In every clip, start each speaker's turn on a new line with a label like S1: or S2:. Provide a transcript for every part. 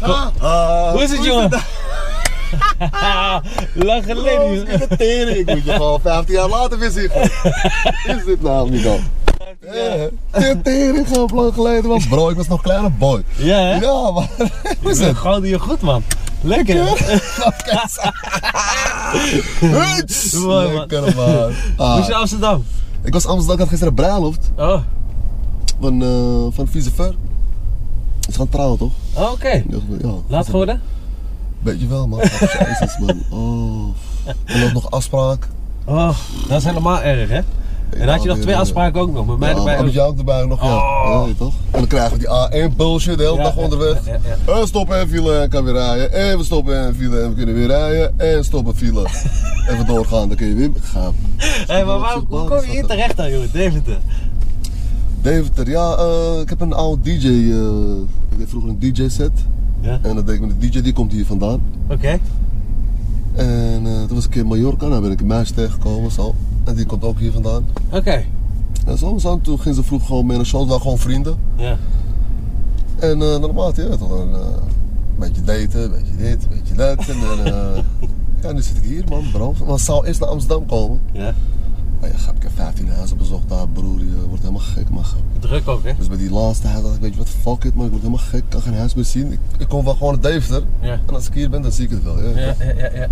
S1: Ah,
S2: Hoe is het, jongen? Ah, Lang geleden,
S1: Proost,
S2: jongen.
S1: de tering. Ik moet je gewoon 15 jaar later weer zien. Is dit nou niet dan? Eh, De tering gewoon lang geleden was. Bro, ik was nog kleine boy.
S2: Ja, hè?
S1: Ja, maar hoe is
S2: Ze
S1: het?
S2: gouden je goed, man. Lekker.
S1: Huts!
S2: Mooi, man.
S1: Lekker man.
S2: Hoe
S1: Ah,
S2: is je Amsterdam?
S1: ik was in Amsterdam, ik had gisteren bruiloft
S2: Oh,
S1: van, eh van vieze ver. Ze gaan trouwen toch?
S2: Oh, oké.
S1: Ja,
S2: Laat geworden?
S1: beetje wel man. Jezus man. Oh. En dan nog afspraak.
S2: Oh, dat is helemaal erg, hè? En had je nog twee afspraken ook nog, met mij
S1: Ja,
S2: erbij.
S1: en
S2: ook.
S1: met jou ook erbij nog, ja.
S2: Oh.
S1: Ja, weet je toch? En dan krijgen we die A1 bullshit de hele
S2: Ja,
S1: dag
S2: ja,
S1: onderweg.
S2: ja, ja,
S1: En stoppen en file en kan weer rijden. En we stoppen en file en we kunnen weer rijden. En stoppen file. Even doorgaan, dan kun je weer gaan.
S2: Hé, maar waarom, hoe kom je hier terecht dan, jongen? Deventer.
S1: Deventer, ja, eh, ik heb een oude DJ. eh, ik deed vroeger een DJ-set.
S2: Ja,
S1: En dan denk ik, de DJ die komt hier vandaan.
S2: oké.
S1: En eh, toen was ik in Mallorca, daar ben ik een meisje tegengekomen. Zo. En die komt ook hier vandaan.
S2: Oké.
S1: En zo, zo. toen ging ze vroeg gewoon mee naar shows, waren gewoon vrienden.
S2: Ja.
S1: En eh normaal, je weet toch, een eh, beetje daten, een beetje dit, een beetje dat. En eh, ja, nu zit ik hier man, bro. Maar zou eerst naar Amsterdam komen.
S2: ja.
S1: Maar ja, grap, ik heb 15 huizen bezocht daar, broer. Je wordt helemaal gek, man. grap.
S2: Druk ook, hè?
S1: Dus bij die laatste huis dacht ik, weet je wat, fuck it, man. Ik word helemaal gek, ik kan geen huis meer zien. Ik, ik kom wel gewoon naar Deventer.
S2: Ja.
S1: En als ik hier ben, dan zie ik het wel. Ja,
S2: Ja, ja, ja. ja.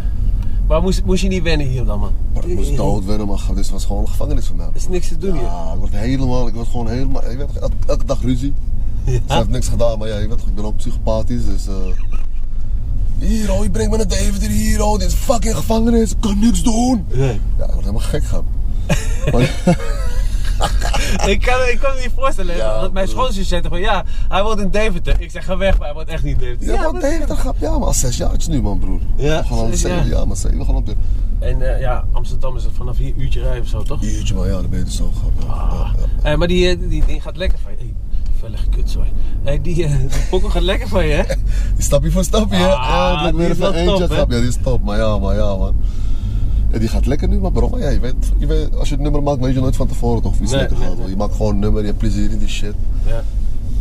S2: Maar moest, moest je niet wennen hier dan, man?
S1: Maar ik moest dood werden, man. grap. Dit was gewoon een gevangenis voor mij.
S2: Er is niks te doen hier.
S1: Ja, ik word helemaal, ik word gewoon helemaal, ik weet, toch, elke, elke dag ruzie. Ze heeft niks gedaan, maar ja, ik, weet, toch, ik ben ook psychopathisch, dus... eh hier, oh, je brengt me naar David hier, oh, dit is fucking gevangenis, ik kan niks doen.
S2: Nee.
S1: Ja, ik word helemaal gek, gaan. Maar,
S2: Ik kan, ik kan het niet voorstellen.
S1: Ja,
S2: want mijn
S1: broer.
S2: schoonzus zei toch van ja, hij woont in Deventer. Ik zeg ga weg, maar hij woont echt niet in Deventer.
S1: ja,
S2: maar-
S1: maar David, dat gaat, ja, maar al zes jaar nu, man, broer.
S2: Ja,
S1: Gewoon al
S2: zes
S1: zeven,
S2: jaar.
S1: ja, maar zeven, gewoon op de...
S2: En eh, ja, Amsterdam is het vanaf hier uurtje rijden of zo, toch?
S1: Jeetje, man, ja, dan ben je dus zo, grap. Ja, ja, ja.
S2: Eh, maar die, eh, die, die gaat lekker van je. Hey, vellig kut, sorry. Hey, die, eh, die pokkel gaat lekker van je, hè?
S1: Die stapje voor stapje, hè?
S2: Ah,
S1: Ja, het lukt
S2: die
S1: weer
S2: is
S1: even
S2: wel
S1: eentje.
S2: top, hè?
S1: grap. Ja, die is top, maar ja, maar ja, man. Ja, die gaat lekker nu, maar bro, ja, je weet, je weet, als je het nummer maakt, weet je nooit van tevoren toch of iets
S2: Nee,
S1: lekker
S2: nee,
S1: gaat.
S2: nee.
S1: Je maakt gewoon een nummer, je hebt plezier in die shit.
S2: Ja.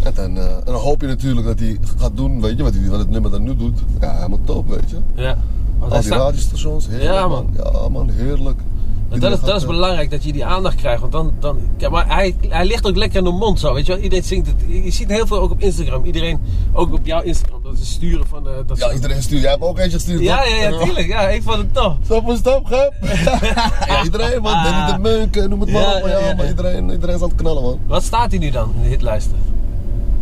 S1: En dan, eh, en dan hoop je natuurlijk dat hij gaat doen, weet je, wat, hij, wat het nummer dan nu doet. Ja, helemaal top, weet je.
S2: ja. Want
S1: Al
S2: hij
S1: die
S2: staat-
S1: radiostations, heerlijk
S2: Ja, man.
S1: Ja man, heerlijk.
S2: want dat, is, dat is
S1: belangrijk.
S2: belangrijk dat je die aandacht krijgt. Want dan, dan, ja, maar hij, hij ligt ook lekker in de mond zo. Weet je, wel? iedereen zingt het. Je je ziet heel veel ook op Instagram. Iedereen, ook op jouw Instagram, dat ze sturen van. eh, dat
S1: Ja,
S2: ze-
S1: iedereen stuurt. Jij hebt ook eentje gestuurd,
S2: ja,
S1: toch?
S2: ja, ja, tuurlijk. Ja, ik vond het tof.
S1: Stap voor stap, grap. ja, iedereen, man. Danny de Meuk, eh, noem het maar
S2: Ah. Ja,
S1: op. maar
S2: ja,
S1: Ja,
S2: ja,
S1: maar
S2: ja.
S1: iedereen, iedereen is aan het knallen, man.
S2: Wat staat hij nu dan in de hitlijsten?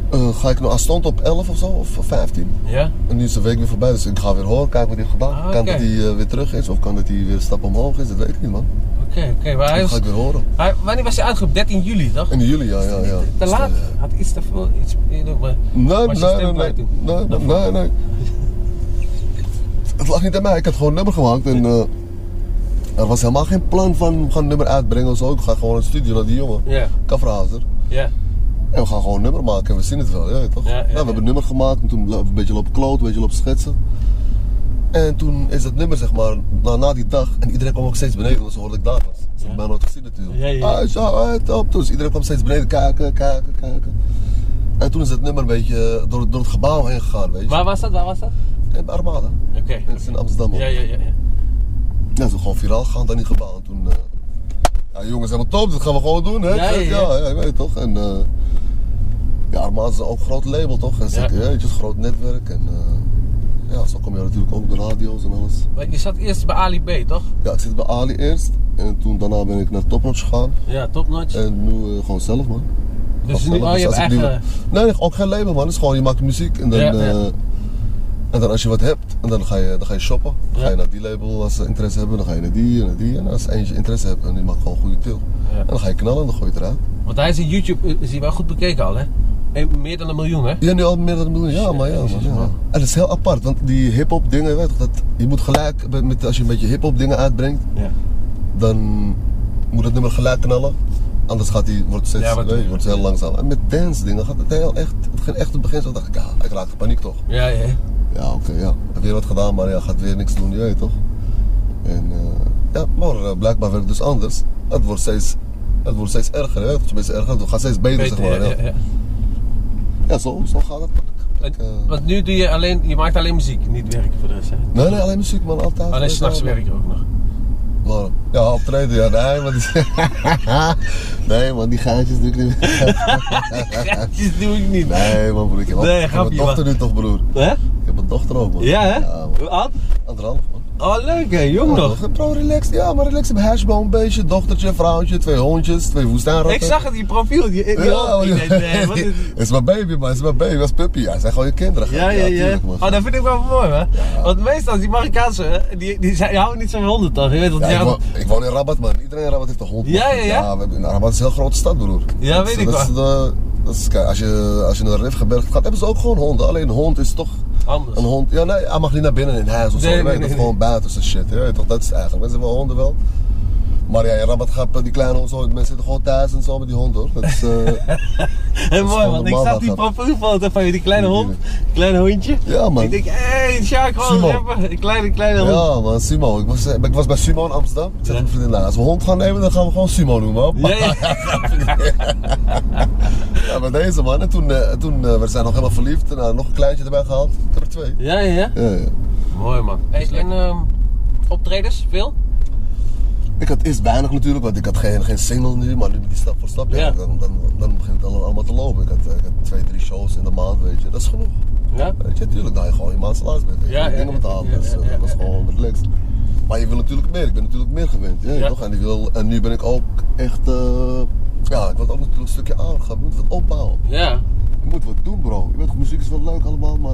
S1: Eh, ga ik nou aanstond op 11 of zo, of 15.
S2: Ja?
S1: En nu is de week weer voorbij, dus ik ga weer horen, kijken wat hij heeft gedaan.
S2: Ah,
S1: Kan
S2: oké.
S1: dat hij eh, weer terug is, of kan dat hij weer een stap omhoog is, dat weet ik niet, man.
S2: Oké, oké. Maar
S1: Dat
S2: hij was-
S1: ga ik weer horen.
S2: hij- wanneer was hij uitgeroepen? 13 juli, toch?
S1: In juli, ja, ja, ja.
S2: Te laat? Had iets te veel. Iets, je weet maar.
S1: eh, Nee,
S2: Was
S1: nee,
S2: je
S1: nee,
S2: stem
S1: nee,
S2: kwijt toen?
S1: nee,
S2: Dat
S1: nee, nee. Het lag niet aan mij, ik had gewoon een nummer gemaakt en eh, er was helemaal geen plan van we gaan een nummer uitbrengen of zo. Ik ga gewoon naar de studio naar die jongen,
S2: Ja,
S1: Kafferhazer.
S2: ja.
S1: En we gaan gewoon een nummer maken en we zien het wel, ja, toch?
S2: Ja, ja,
S1: nou, we
S2: ja.
S1: hebben een nummer gemaakt en toen lo- een beetje lopen kloot, een beetje lopen schetsen. En toen is dat nummer, zeg maar, na, na die dag, en iedereen kwam ook steeds beneden, want ze hoorden dat ik daar was. Ze hebben mij nooit gezien natuurlijk.
S2: Ja, ja, ja.
S1: Ah, zo, ah, top. Dus iedereen kwam steeds beneden kijken, kijken, kijken. En toen is dat nummer een beetje door, door het gebouw heen gegaan, weet je.
S2: Waar was dat? Waar was dat?
S1: En bij Armada,
S2: Oké.
S1: dat is in Amsterdam. hoor.
S2: Ja, ja, ja. ja.
S1: Ja, toen gewoon viraal gaan dan die gebouw. En toen, eh, ja jongens, helemaal top, dat gaan we gewoon doen, hè?
S2: Ja, ja, ja.
S1: je weet toch? En eh, ja, Armaat is ook een groot label, toch? En zeker,
S2: Ja.
S1: ja. weet je, een groot netwerk. En eh, ja, zo kom je natuurlijk ook op de radio's en alles.
S2: Want je zat eerst bij Ali B, toch?
S1: Ja, ik zit bij Ali eerst. En toen daarna ben ik naar Topnotch gegaan.
S2: Ja, topnotch.
S1: En nu eh, gewoon zelf, man.
S2: dus nu,
S1: Zelf,
S2: oh,
S1: dus
S2: je hebt
S1: als ik
S2: echt.
S1: nu-
S2: eh,
S1: Nee, ook geen label, man. Het is gewoon, je maakt muziek en dan...
S2: Ja, ja.
S1: eh, en dan als je wat hebt, en dan ga je, dan ga je shoppen. Dan ga je
S2: Ja.
S1: naar die label als ze interesse hebben, dan ga je naar die en naar die. En als eentje interesse hebt en die maakt gewoon goede til.
S2: Ja.
S1: En dan ga je knallen en dan gooi je het eruit.
S2: Want hij is in YouTube eh, is hij wel goed bekeken al, hè? Eh, Meer dan een miljoen, hè?
S1: Ja, nu al meer dan een miljoen. Ja, maar ja, man,
S2: Jezus,
S1: ja.
S2: man.
S1: En dat is heel apart, want die hip-hop dingen, weet je, toch, dat, je moet gelijk, met- met, als je een beetje hip-hop dingen uitbrengt,
S2: Ja.
S1: dan moet het nummer gelijk knallen. Anders gaat die, wordt steeds,
S2: Ja, wat-
S1: nee, wordt heel langzaam. En met dance dingen gaat het heel echt, het ging echt in het begin zo, dacht ik, ja, ik raakte paniek toch.
S2: Ja, ja.
S1: Ja, oké, ja. Heb weer wat gedaan, maar ja, gaat weer niks doen, je weet toch? En eh, ja, maar eh, blijkbaar werd het dus anders. Het wordt steeds, het wordt steeds erger, hè? Het wordt steeds erger, het gaat steeds beter,
S2: Beter,
S1: zeg maar. Ja,
S2: ja, ja.
S1: Ja, zo, zo gaat het. eh,
S2: En- Want nu doe je alleen, je maakt alleen muziek, niet werk voor de rest. Hè?
S1: Nee, nee, alleen muziek man, altijd.
S2: Alleen s'nachts werk je ook nog.
S1: Waarom? Ja, optreden, ja, nee, maar die... nee, man, die gaatjes doe ik niet meer.
S2: Geitjes doe ik niet.
S1: Nee, man, broer, ik heb,
S2: Nee,
S1: ik heb
S2: grapje,
S1: een dochter nu toch, broer.
S2: Hè?
S1: Ik heb een dochter ook, man.
S2: Ja, hè?
S1: Ja, man.
S2: Hoe oud?
S1: Anderhalf, man.
S2: Oh, leuk hè, jong
S1: Ja,
S2: nog.
S1: toch? Bro, relax. Ja, maar relax. Een hashbone, beestje, dochtertje, vrouwtje, twee hondjes, twee woestijnratten.
S2: Ik zag het, je profiel. Die, die
S1: Ja,
S2: ik denk, nee, wat is...
S1: Het is mijn baby, man. Het is mijn baby. Dat is puppy. Ja, het zijn gewoon je kinderen.
S2: Ja, ja, ja.
S1: tuurlijk, man.
S2: Oh, dat vind ik wel mooi, hè? Want meestal, die Marokkaanse, hè, die, die, zijn- die houden niet zo'n honden, toch? Je weet dat
S1: Ja,
S2: die
S1: ik, woon,
S2: houden-
S1: ik woon in Rabat, man. Iedereen in Rabat heeft een hond. man.
S2: Ja, ja, ja.
S1: we hebben- nou, Rabat is een heel grote stad, broer.
S2: Ja,
S1: Dat is-
S2: weet ik
S1: dat is de- dat is, kijk, als je, als je naar de Rifgebergte gaat, hebben ze ook gewoon honden. Alleen een hond is toch...
S2: Anders.
S1: Een hond... Ja, nee, hij mag niet naar binnen in huis of zo.
S2: Nee,
S1: Nee,
S2: nee,
S1: dat
S2: nee,
S1: is
S2: nee.
S1: gewoon buiten zijn shit. Ja, toch, dat is het eigenlijk. Mensen hebben wel honden wel. Maar ja, in Rabat gaat eh, die kleine hond zo... Mensen zitten gewoon thuis en zo met die hond, hoor. Dat is... eh,
S2: Heel
S1: is
S2: mooi,
S1: gewoon
S2: man. Ik
S1: normaal,
S2: zag die
S1: dat gaat.
S2: profielfoto van je, die kleine hond, kleine hondje.
S1: ja, man.
S2: Ik denk, hé, hey, Sjaak, gewoon
S1: Simon.
S2: rapper. Een kleine, kleine hond.
S1: Ja man, Simo. Ik was, eh, ik was bij Simo in Amsterdam. Ik zei tegen
S2: Ja.
S1: mijn vriendin, nou, als we hond gaan nemen, dan gaan we gewoon Simo noemen. hoor.
S2: Ja, ja.
S1: Ja, met deze man. En toen, eh, toen eh, we zijn nog helemaal verliefd. En eh, nog een kleintje erbij gehaald. Ik heb er twee.
S2: ja, ja, ja.
S1: Ja, ja.
S2: Mooi, man. Hey, en ehm, optredens, veel?
S1: Ik had eerst weinig natuurlijk, want ik had geen, geen single nu. Maar nu met die stap voor stap, ja,
S2: Ja.
S1: dan, dan, dan begint het al- allemaal te lopen. Ik had, eh, ik had twee, drie shows in de maand, weet je. Dat is genoeg.
S2: Ja?
S1: Weet je, tuurlijk, dan je gewoon je maand salaris bent.
S2: Ja,
S1: Ja,
S2: ja,
S1: dingen
S2: ja,
S1: betalen.
S2: ja,
S1: Dus
S2: ja,
S1: eh, dat
S2: ja,
S1: was
S2: ja.
S1: gewoon relaxed. Maar je wil natuurlijk meer. Ik ben natuurlijk meer gewend. Ja,
S2: Ja.
S1: Toch? En, ik wil, en nu ben ik ook echt... eh, ja, ik word ook natuurlijk een stukje aangegaan. Ik moet wat opbouwen.
S2: Ja.
S1: Je moet wat doen, bro. Je weet, muziek is wel leuk allemaal, maar...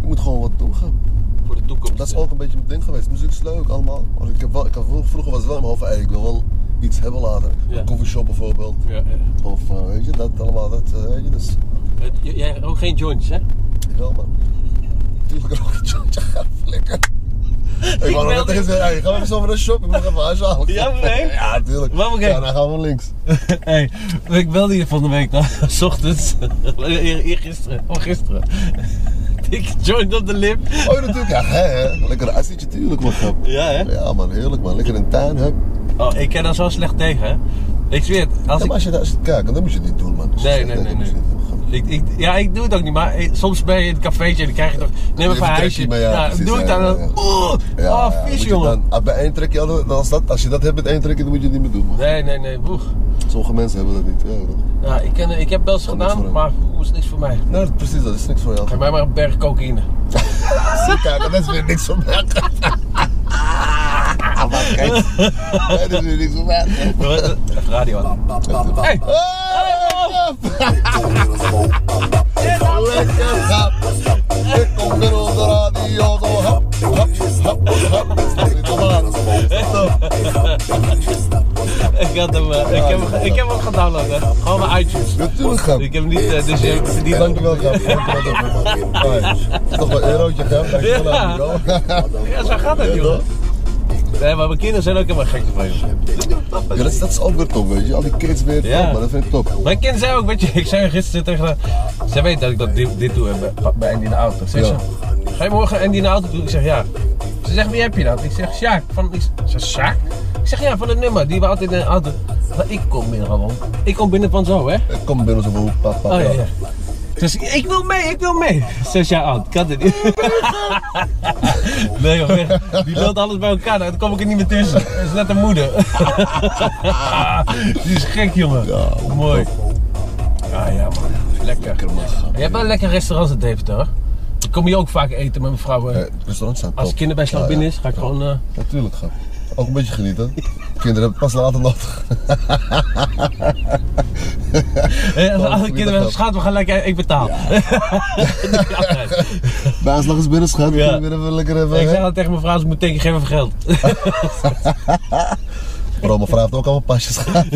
S1: Je moet gewoon wat doen gaan.
S2: Voor de toekomst.
S1: Dat is ook een beetje mijn ding geweest. Muziek is leuk allemaal. Maar ik heb wel, ik had wel- vroeger was het wel in mijn hoofd van, hey, ik wil wel iets hebben later.
S2: Ja.
S1: Een coffeeshop bijvoorbeeld.
S2: Ja, ja.
S1: Of eh, weet je, dat allemaal. Dat, eh, weet je, dus
S2: Het- j- Jij ook geen joints, hè?
S1: wel man. Tuurlijk er ook een jointje gaan flikken. Ik wou nog net
S2: meld
S1: tegen
S2: me.
S1: zeggen, hey, gaan we even zo naar de shop? Ik moet nog even huishalen.
S2: Ja, maar nee.
S1: Ja, tuurlijk.
S2: Maar oké.
S1: Ja, dan gaan we links.
S2: Hey, ik belde je van de week, nou, s ochtends, Eer- eergisteren, oh gisteren. Ik joint op de lip.
S1: Oh, ja, natuurlijk. Ja, hè, hè. Lekker een assietje, tuurlijk man. grap.
S2: Ja, hè?
S1: Ja man, heerlijk man. Lekker in de tuin, hè. Ja,
S2: Oh, ik ken daar zo slecht tegen, hè. Ik zweer het, als
S1: maar
S2: ik...
S1: als je, als je het kijkt, dan moet je het niet doen man. Als je
S2: Nee,
S1: het
S2: nee,
S1: kijkt,
S2: nee,
S1: dan moet
S2: nee.
S1: je het niet doen, grap.
S2: Ik, ik, ja, ik doe het ook niet, maar eh, soms ben je in het cafeetje en dan krijg je toch...
S1: Even
S2: Neem even een
S1: trekje
S2: huisje.
S1: mee, ja,
S2: Nou,
S1: precies,
S2: doe ik
S1: ja,
S2: dan...
S1: ja,
S2: dan-
S1: ja.
S2: Oeh,
S1: Ja,
S2: oh,
S1: ja,
S2: vies,
S1: moet je
S2: jongen.
S1: Dan, ah, bij één trekje, al- dan als, dat, als je dat hebt met één trekje, dan moet je het niet meer doen. man.
S2: Nee, nee, nee, boeg.
S1: Sommige mensen hebben dat niet. Ja, toch?
S2: Nou, ik, ken, ik heb wel eens
S1: Kan niks voor
S2: gedaan,
S1: hem.
S2: maar oeh, is niks voor mij.
S1: nee, dat- precies, dat is niks voor jou.
S2: Geef mij maar een berg cocaïne.
S1: Zie, Kijk, dat is weer niks voor mij. Ah, maar kijk, dat is weer niks voor mij.
S2: Even radio aan.
S1: Hey,
S2: Hey.
S1: grap. Lekker grap. Ik kom weer op de radio. Zo, hap, hap, hap, hap. Stop die tomaten. Stop.
S2: Ik, had hem, eh, ik, heb, hem- ik heb hem gedownload, hè. Gewoon mijn iTunes.
S1: Natuurlijk grap.
S2: Ik heb hem niet, eh, dus je, die dank
S1: Dankjewel, grap. Dankjewel, dankjewel. Hoi. Toch wel een eurotje, grap. Dankjewel,
S2: Ja.
S1: dankjewel.
S2: Ja, zo gaat dat, joh. Nee, maar mijn kinderen zijn ook helemaal gek van je.
S1: Ja, dat is, dat is ook weer top, weet je. Al die kids weer
S2: Ja.
S1: top, maar dat vind ik top.
S2: Mijn kind zei ook, weet je, ik zei gisteren tegen haar, zij weet dat ik dat dit, dit doe hè, bij- bij Andy in de auto. Ze
S1: Ja.
S2: zegt, ga je morgen Andy in de auto doen? Ik zeg, ja. Ze zegt, wie heb je dat? Ik zeg, Sjaak. Van, ik zeg, Sjaak? Ik zeg, ja, van het nummer, die we altijd in de auto. Maar ik kom binnen gewoon. Ik kom binnen van zo, hè.
S1: Ik kom binnen zo van hoe papa.
S2: Oh ja, ja. Dus ik wil mee, ik wil mee. Zes jaar oud, kan dit niet. Nee joh, echt. die loopt alles bij elkaar, dan kom ik er niet meer tussen. Dat is net een moeder. Die is gek jongen.
S1: Ja,
S2: Mooi. Ja, ja man. Lekker.
S1: Lekker man. grap.
S2: Je hebt wel lekker restaurants in Deventer hoor. Ik kom hier ook vaak eten met mijn vrouw.
S1: Ja,
S2: eh.
S1: het restaurant staat top.
S2: Als kinderbijslag binnen is, ga ik gewoon... eh,
S1: Natuurlijk, grap. Ook een beetje genieten. Kinderen hebben het pas later nodig.
S2: eh, Als alle
S1: goeiedag,
S2: kinderen
S1: grap.
S2: schat, we gaan lekker, ik betaal. Ja, nee.
S1: Bijslag is binnen, schat.
S2: Ja.
S1: Kunnen we weer even lekker even...
S2: Ik
S1: hè?
S2: zeg al tegen mijn vrouw, ze moet tegen geven voor geld.
S1: Bro, mijn vrouw heeft ook allemaal pasjes gehad.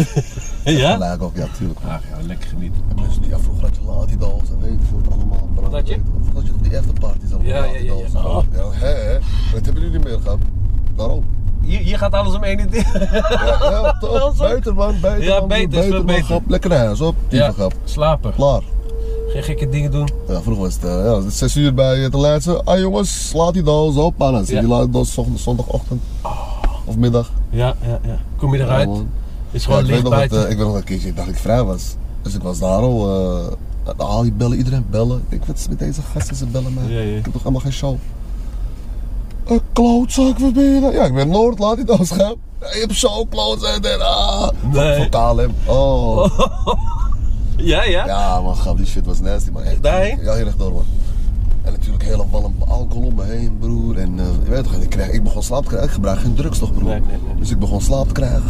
S2: Ja?
S1: Gelijk ook, ja, tuurlijk.
S2: Ach ja, lekker genieten.
S1: Mensen die vroeger had je laat die dans en weet ik veel wat allemaal. Bro,
S2: Wat had je?
S1: Vroeger had je nog die afterparties allemaal.
S2: Ja, ja, ja, Oh. ja.
S1: laatidals, bro. Ja, hè, hè. Dat hebben jullie niet meer gehad. Daarom.
S2: Hier, hier gaat alles om één uur.
S1: Ja, ja, top.
S2: Wel zo.
S1: Beter man, beter
S2: Ja,
S1: man.
S2: beter, is veel
S1: man,
S2: beter.
S1: grap. Lekker naar huis, op. Diepe grap.
S2: slapen.
S1: Klaar.
S2: Geen gekke dingen doen.
S1: Ja, vroeger was het, eh, ja, het is 6 uur bij eh, te laatste. Ah jongens, slaat die doos op. Ah, dan zie je
S2: Ja.
S1: die laat doos zond- zondagochtend. Of middag.
S2: Ja, ja, ja. Kom je
S1: Ja,
S2: eruit?
S1: man.
S2: is
S1: Ja,
S2: gewoon
S1: ik, weet
S2: licht
S1: nog dat,
S2: buiten.
S1: eh, ik weet nog dat een keertje ik dacht ik vrij was. Dus ik was daar al. eh, Dan haal je bellen, iedereen bellen. Ik wat is met deze gasten, ze bellen mij.
S3: Ja, ja.
S1: Ik heb toch allemaal geen show. Een klootzak, wat ben je nou? Ja, ik ben Noord, laat die dan scherm. Je hebt zo'n klootzak en ah.
S3: Nee.
S1: Van KLM. Oh.
S3: Ja, ja?
S1: eh, Ja man, grap, die shit was nasty man. Echt
S3: daarheen?
S1: Ja, hier rechtdoor man. En natuurlijk heel walm alcohol om me heen broer. En eh, je weet toch, ik, kreeg, ik begon slaap te krijgen. Ik gebruik geen drugs toch broer.
S3: Nee, nee, nee.
S1: Dus ik begon slaap te krijgen.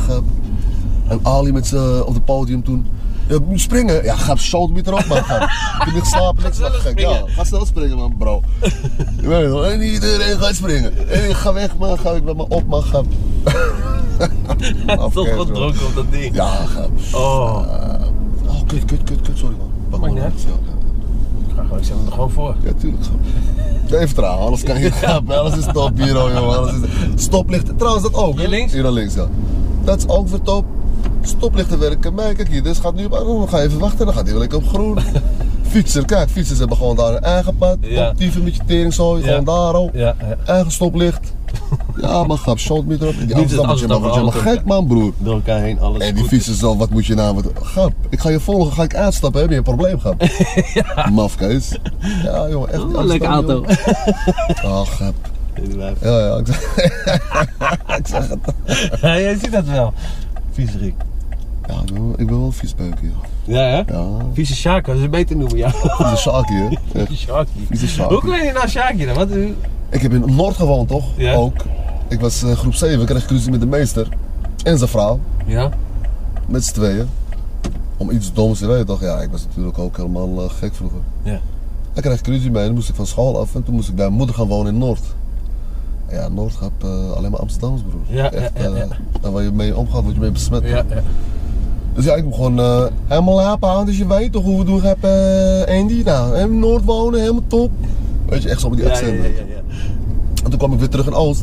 S1: En Ali met z'n op het podium toen. Ja, moet springen. Ja, ga zout met erop man. Ga. Ik heb niet geslapen, niks
S3: Ga
S1: maar
S3: snel
S1: gek. Ja,
S3: springen.
S1: ga snel springen man bro. Je weet toch, en iedereen gaat springen. En ik ga weg man, ga ik met me op man. Ga.
S3: Toch
S1: Afkeert,
S3: wel
S1: man.
S3: dronken op dat ding.
S1: Ja, ga.
S3: Oh.
S1: Eh, oh, kut, kut, kut, kut, sorry man. Pak
S2: Maakt niet
S1: maar.
S2: uit.
S1: Ja, ja.
S2: Ik ga gewoon- Ik zet hem er gewoon voor.
S1: Ja, tuurlijk. grap. Even vertrouwen, alles kan hier grappen, alles is top hier, hoor, jongen. Alles is... Stoplichten, trouwens dat ook. hè?
S2: Hier links?
S1: Hier aan links, ja. Dat is ook weer top. Stoplichten werken, mij, kijk hier, dit gaat nu op oh, we gaan even wachten, dan gaat hij wel lekker op groen. Fietser, kijk, fietsers hebben gewoon daar een eigen pad.
S3: Ja.
S1: Optieven met je teringzooi,
S3: Ja.
S1: gewoon daar al.
S2: Ja, ja.
S1: Eigen stoplicht. Ja, maar grap, shot meter op. Die
S3: het
S1: Amsterdammertje
S3: Amsterdam,
S1: mag wordt helemaal
S3: alles
S1: gek, man, broer.
S3: Door elkaar heen, alles
S1: En die
S3: goed.
S1: fietsers zelf, wat moet je nou? Wat, grap, ik ga je volgen, ga ik aanstappen, heb je een probleem gehad? Mafkees. Ja, jongen, echt.
S3: Oh, leuke
S1: Amsterdam,
S3: auto.
S1: jongen. Oh, grap.
S3: Inderdaad.
S1: Ja, ja, ik zeg, ik zeg het.
S3: Ja, jij ziet dat wel. Viezerik.
S1: Ja, ik ben wel, ik ben wel een viesbeuken, joh.
S3: Ja, hè?
S1: Ja,
S3: Vieze Sjaak, dat is beter noemen, ja.
S1: vieze Saki, hè? Echt,
S3: Vieze Sjaakje.
S1: vieze
S2: Hoe
S1: Saki.
S2: kun je nou Sjaakje dan? Wat is-
S1: Ik heb in Noord gewoond, toch?
S3: Ja.
S1: Ook. Ik was eh, groep 7, kreeg ik ruzie met de meester. En zijn vrouw,
S2: Ja.
S1: met z'n tweeën. Om iets doms te weten, toch? Ja, ik was natuurlijk ook helemaal eh, gek vroeger.
S3: Ja.
S1: Daar kreeg ik ruzie mee en toen moest ik van school af en toen moest ik bij mijn moeder gaan wonen in Noord. En Ja, Noord gaat eh, alleen maar Amsterdams, broer.
S3: Ja, ja,
S1: Echt,
S3: ja,
S1: eh,
S3: ja.
S1: daar waar je mee omgaat, word je mee besmet.
S2: Ja, ja.
S1: Dus ja, ik ben gewoon eh, helemaal lapen aan, dus je weet toch hoe we doen hebben eh Andy. Nou, in Noord wonen, helemaal top. Weet je, echt zo met die
S3: Ja, ja,
S1: accenten.
S3: ja, ja, ja.
S1: En toen kwam ik weer terug in Oost.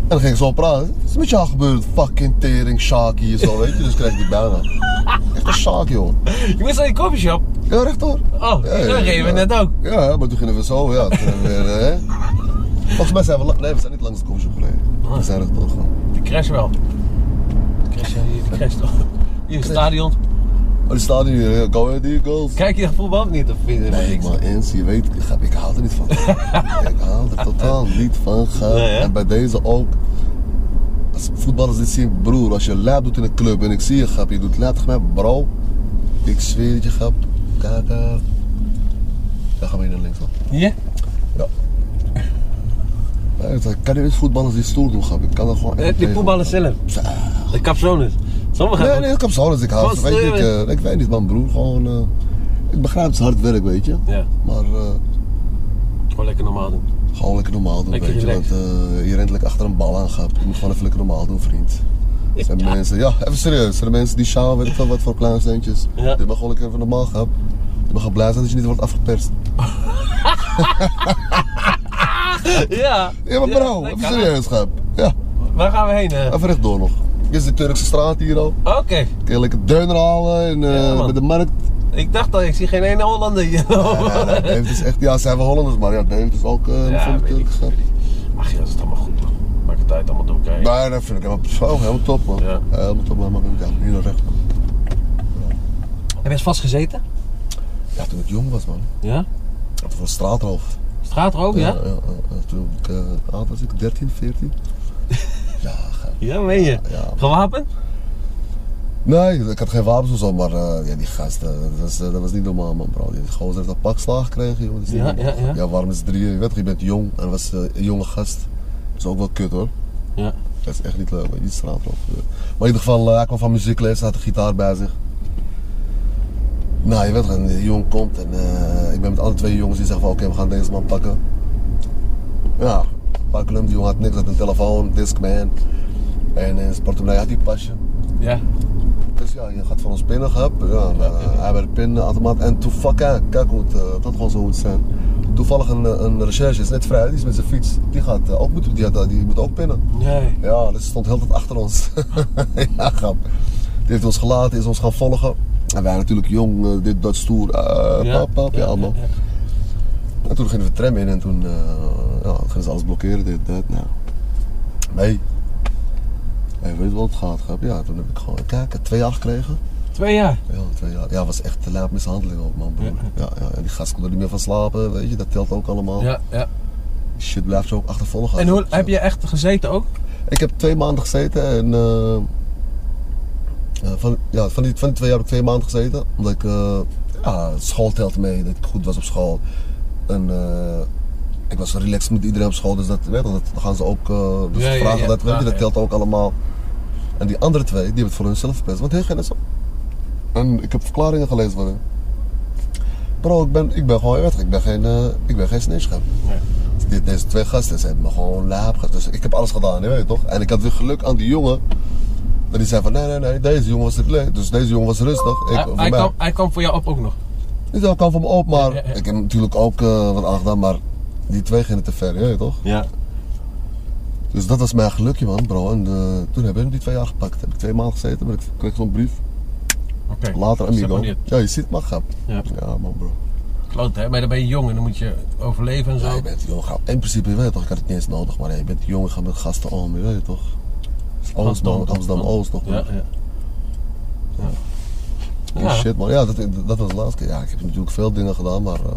S1: En dan ging ik zo praten. Wat is met jou gebeurd? Fucking tering, Sjaak hier zo, weet je. Dus kreeg ik die bijna. Echt een Sjaak, joh.
S2: Je moest naar die coffeeshop.
S1: Ja, rechtdoor.
S2: Oh,
S1: Ja, ja,
S2: zo reden we
S1: ja.
S2: net ook.
S1: Ja, maar toen gingen we zo, ja. Toen hebben we weer, hè. Volgens mij zijn we, la- nee, we zijn niet langs de komstje gereden.
S2: Ah.
S1: We zijn rechtdoor gegaan.
S2: De crash wel. De crash, ja, hier, de crash toch. Hier het stadion.
S1: Maar Oh, die stadion hier, ja, go ahead Eagles.
S2: Kijk je dat voetbal of niet? Of vind je dat
S1: Nee,
S2: niks?
S1: maar eens, je weet, ik, ik haal er niet van. ik haal er totaal niet van. Gaan.
S3: Nee, hè?
S1: en bij deze ook. Als voetballers dit zien, broer, als je lab doet in een club en ik zie je, grap, je doet lab tegen mij, bro. Ik zweer het je, grap. Kijk, eh, dan gaan we hier naar links dan.
S2: Hier?
S1: Nee, ik kan niet met voetballers die stoer doen, grap. Ik kan er gewoon echt
S2: Eh, Die
S1: tegen.
S2: voetballers zelf. De kapsones. Sommigen.
S1: Nee, nee, ik heb zo alles. Ik haal.
S2: Gewoon
S1: ze, Weet je, ik,
S2: sturen.
S1: eh, ik weet niet, man, broer. Gewoon, eh, ik begrijp het is hard werk, weet je.
S2: Ja,
S1: Maar eh,
S2: gewoon lekker normaal doen.
S1: gewoon lekker normaal doen,
S2: Lekker
S1: weet je. Want
S2: relaxed.
S1: eh, je rent lekker achter een bal aan, gaat. Je moet gewoon even lekker normaal doen, vriend. Er zijn mensen, ja, even serieus. Er zijn mensen die sjouwen, weet ik veel wat voor kleine steentjes.
S3: Ja.
S1: Dit mag gewoon lekker even normaal, grap. Je mag gewoon blij zijn dat je niet wordt afgeperst.
S2: Ja.
S1: Ja, maar
S2: dat
S1: bro,
S2: kan
S1: even
S2: ook.
S1: serieus, grap. Ja,
S2: Waar gaan we heen? eh?
S1: even rechtdoor nog. Dit is de Turkse straat hier al.
S2: Oké.
S1: Kun je lekker deuner halen en eh,
S2: Ja, man.
S1: bij de markt.
S2: Ik dacht al, ik zie geen ene Hollander hier.
S1: Ja, nee, Deventer is echt, ja, zijn we Hollanders, maar ja, Deventer is ook eh ja,
S2: weet ik,
S1: Turks. grap.
S2: weet ik. Ach ja, dat is allemaal goed man. Maak het uit allemaal door elkaar
S1: Nee,
S2: heen.
S1: dat vind ik helemaal, zo, helemaal top man.
S2: Ja.
S1: Helemaal top man, maar ik dacht, niet naar recht man.
S2: Heb je eens vastgezeten?
S1: Ja, toen ik jong was man.
S2: Ja.
S1: Toen was ik straatroof.
S2: Straatroof, ja?
S1: ja, ja. Toen ik, eh, oud was ik 13, 14. ja, gaaf.
S2: Ja, meen je.
S1: ja.
S2: Gewapend?
S1: Nee, ik had geen wapens of zo, maar eh, ja, die gasten, dat was, eh, dat was niet normaal man bro. Die gozer heeft een pakslaag gekregen joh. Dat is niet
S2: Ja,
S1: normaal.
S2: ja, ja.
S1: waarom is het drieën? Je weet toch, je bent jong en was eh, een jonge gast. Dat is ook wel kut hoor.
S2: Ja.
S1: Dat is echt niet leuk, niet straatroof. Maar in ieder geval, eh, hij kwam van muziekles, hij had een gitaar bij zich. Nou, je weet gewoon, die jongen komt en eh, ik ben met alle twee jongens die zeggen van oké, we gaan deze man pakken. Ja, pakken hem, die jongen had niks, had een telefoon, Discman. En eh, in zijn portemonnee had hij een pasje.
S2: Ja.
S1: Dus ja, je gaat van ons pinnen, gehad. Ja, en, eh, hij werd pinnen, automaat. En toen, fuck, kijk, kijk hoe het, eh, dat gewoon zo moet zijn. Toevallig een, eh, een recherche is net vrij, die is met zijn fiets. Die gaat eh, ook moeten, die, had, die moet ook pinnen.
S2: Nee.
S1: Ja, dat stond heel wat achter ons. ja, grap. Die heeft ons gelaten, is ons gaan volgen. En wij natuurlijk jong, eh, dit, dat, stoer, eh
S2: Ja.
S1: pap, pap, ja, allemaal.
S2: ja.
S1: En toen gingen we de tram in en toen eh, ja, gingen ze alles blokkeren, dit, dat, nou. Nee. Hey, weet je wat het gaat, grap? Ja, toen heb ik gewoon, kijk, ik had twee jaar gekregen.
S3: Twee jaar.
S1: Ja, twee jaar. Ja, was echt te laat mishandeling op, man, broer.
S3: Ja.
S1: Ja, ja. En die gast kon er niet meer van slapen, weet je, dat telt ook allemaal.
S2: Ja, ja.
S1: Shit blijft zo ook achtervolgen.
S2: En hoe, heb je echt gezeten ook?
S1: Ik heb twee maanden gezeten en. eh, eh, van, ja, van, die, van die twee jaar heb ik twee maanden gezeten. Omdat ik. eh, ja, school telt mee, dat ik goed was op school. En. eh, ik was relaxed met iedereen op school, dus dat, weet je, dat dan gaan ze ook. eh, dus
S2: Ja, ja,
S1: vragen
S2: ja,
S1: dat, weet je,
S2: vragen,
S1: dat
S2: ja.
S1: telt ook allemaal. En die andere twee, die hebben het voor hunzelf verpest, want heel geen is op. En ik heb verklaringen gelezen van hen. Bro, ik ben, ik ben gewoon, je weet toch, ik ben geen, eh, ik ben geen sneeuwschep.
S2: Nee.
S1: Dit- Deze twee gasten, ze hebben me gewoon laap gehad. Dus ik heb alles gedaan, je weet toch? En ik had weer geluk aan die jongen. En die zei van, nee, nee, nee, deze jongen was het leuk. Dus deze jongen was rustig. Ik,
S2: Hij,
S1: voor
S2: hij,
S1: mij.
S2: kwam, hij kwam voor jou op ook nog.
S1: Niet wel kan van me op, maar
S2: Ja, ja, ja.
S1: ik heb natuurlijk ook eh, wat aangedaan. Maar die twee gingen te ver, je weet toch?
S3: Ja.
S1: Dus dat was mijn gelukje, man, bro. En eh, toen hebben we die twee jaar gepakt. Heb ik twee maanden gezeten, maar ik kreeg zo'n brief.
S2: Oké.
S1: Later,
S2: Zeg
S1: amigo.
S2: maar dit.
S1: Ja, je ziet maar, grap.
S2: Ja.
S1: ja, man, bro.
S2: Kloot, hè? Maar dan ben je jong en dan moet je overleven en zo.
S1: Ja, je bent jong. ga- In principe, je weet toch, ik had het niet eens nodig, maar je bent jong en gaat met gasten om, je weet toch? Oost, man. Amsterdam-Oost nog,
S2: Ja,
S1: man.
S2: ja. Ja.
S1: Oh,
S2: Ja.
S1: shit, man. Ja, dat, dat was de laatste keer. Ja, ik heb natuurlijk veel dingen gedaan, maar... eh,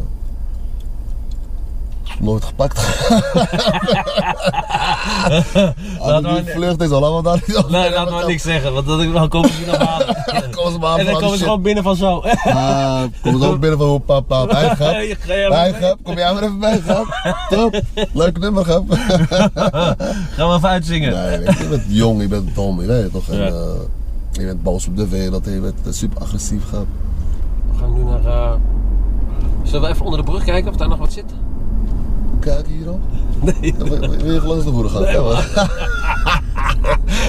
S1: nooit gepakt. Laten
S2: we-
S1: die vlucht is al allemaal daar niet over.
S2: Nee, laat maar niks zeggen, want dan dan komen ze hier nog halen.
S1: Kom eens maar aan,
S2: en dan
S1: man,
S2: komen ze
S1: shit.
S2: gewoon binnen van zo.
S1: Ah, kom eens ook binnen van hoe pap, pap. Hij gaat.
S2: Je- ga jij maar
S1: Hij
S2: mee?
S1: gaat. Kom jij maar even bij, grap. Top. Leuk nummer, grap.
S2: Gaan we even uitzingen.
S1: Nee, nee, je bent jong, je bent dom, je weet het toch. En,
S2: Ja.
S1: eh, je bent boos op de wereld, en je bent eh, super agressief, grap.
S2: We gaan nu naar. eh, Zullen we even onder de brug kijken of daar nog wat zit?
S1: Kijk hier al.
S2: Nee.
S1: Ja, Wil wil- wil je langs de boeren gaan? ja, man.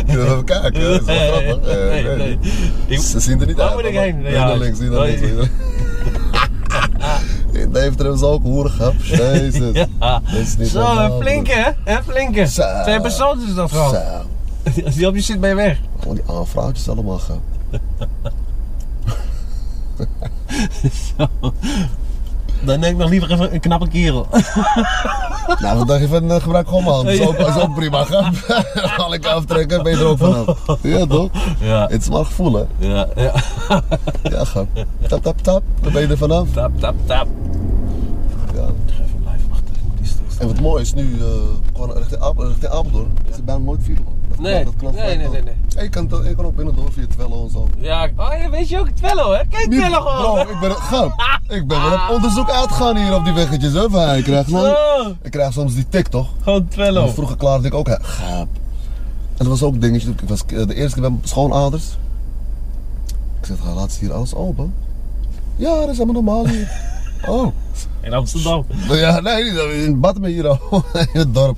S1: Kunnen we even kijken? Dat is wel grappig. Eh,
S2: Nee,
S1: nee.
S2: nee. Ik-
S1: Ze zien er niet
S2: Waar
S1: uit.
S2: moet
S1: man.
S2: ik heen?
S1: Nee,
S2: Ja,
S1: naar links, niet naar
S2: nee.
S1: links. niet naar- In Deventer hebben ze ook hoeren gehad. Jezus.
S2: Ja.
S1: Dat is niet
S2: Zo,
S1: normaal,
S2: een flinke hè? Een flinke.
S1: Zo.
S2: Twee personen is dat
S1: broer.
S2: gewoon.
S1: Zo.
S2: Als die op je zit, ben je weg.
S1: Gewoon die aanvraagjes allemaal gaan.
S3: Dan neem ik nog liever even een knappe kerel.
S1: Nou, wat dacht je van eh, gebruik gewoon man. Dat is ook, is ook prima. Ga Haal ik aftrekken, ben je er ook vanaf. Ja toch?
S2: Ja.
S1: Het is maar gevoel hè.
S2: Ja, ja.
S1: Ja, ga. Tap, tap, tap. Dan ben je er vanaf.
S2: Tap, tap, tap.
S1: Ja.
S2: Even live wachten, ik moet die stil
S1: En wat mooi is nu, eh, gewoon richting, Apel, richting Apeldoorn, is er bijna nooit file man. Dat
S2: Nee,
S1: klopt, dat klopt,
S2: nee,
S1: dat
S2: nee,
S1: klopt.
S2: nee,
S1: Ik kan, to- ik kan ook binnendoor via Twello en zo.
S2: Ja, oh, ja, weet je ook, Twello hè? Kijk
S1: Niet-
S2: Twello
S1: Bro,
S2: gewoon.
S1: ik ben, grap, ik ben wel op onderzoek uitgegaan hier op die weggetjes hè. Van, ik, krijg, nou-
S2: Zo, Nou.
S1: ik krijg soms die tik toch.
S2: gewoon Twello.
S1: En Vroeger klaarde ik ook, hè, gaap. En dat was ook een dingetje, ik was eh, de eerste keer bij mijn schoonaders. Ik zeg, laat ze hier alles open? Ja, dat is helemaal normaal hier. Oh.
S2: In Amsterdam.
S1: Nou Ja, nee, niet in Badme hier al, in het dorp.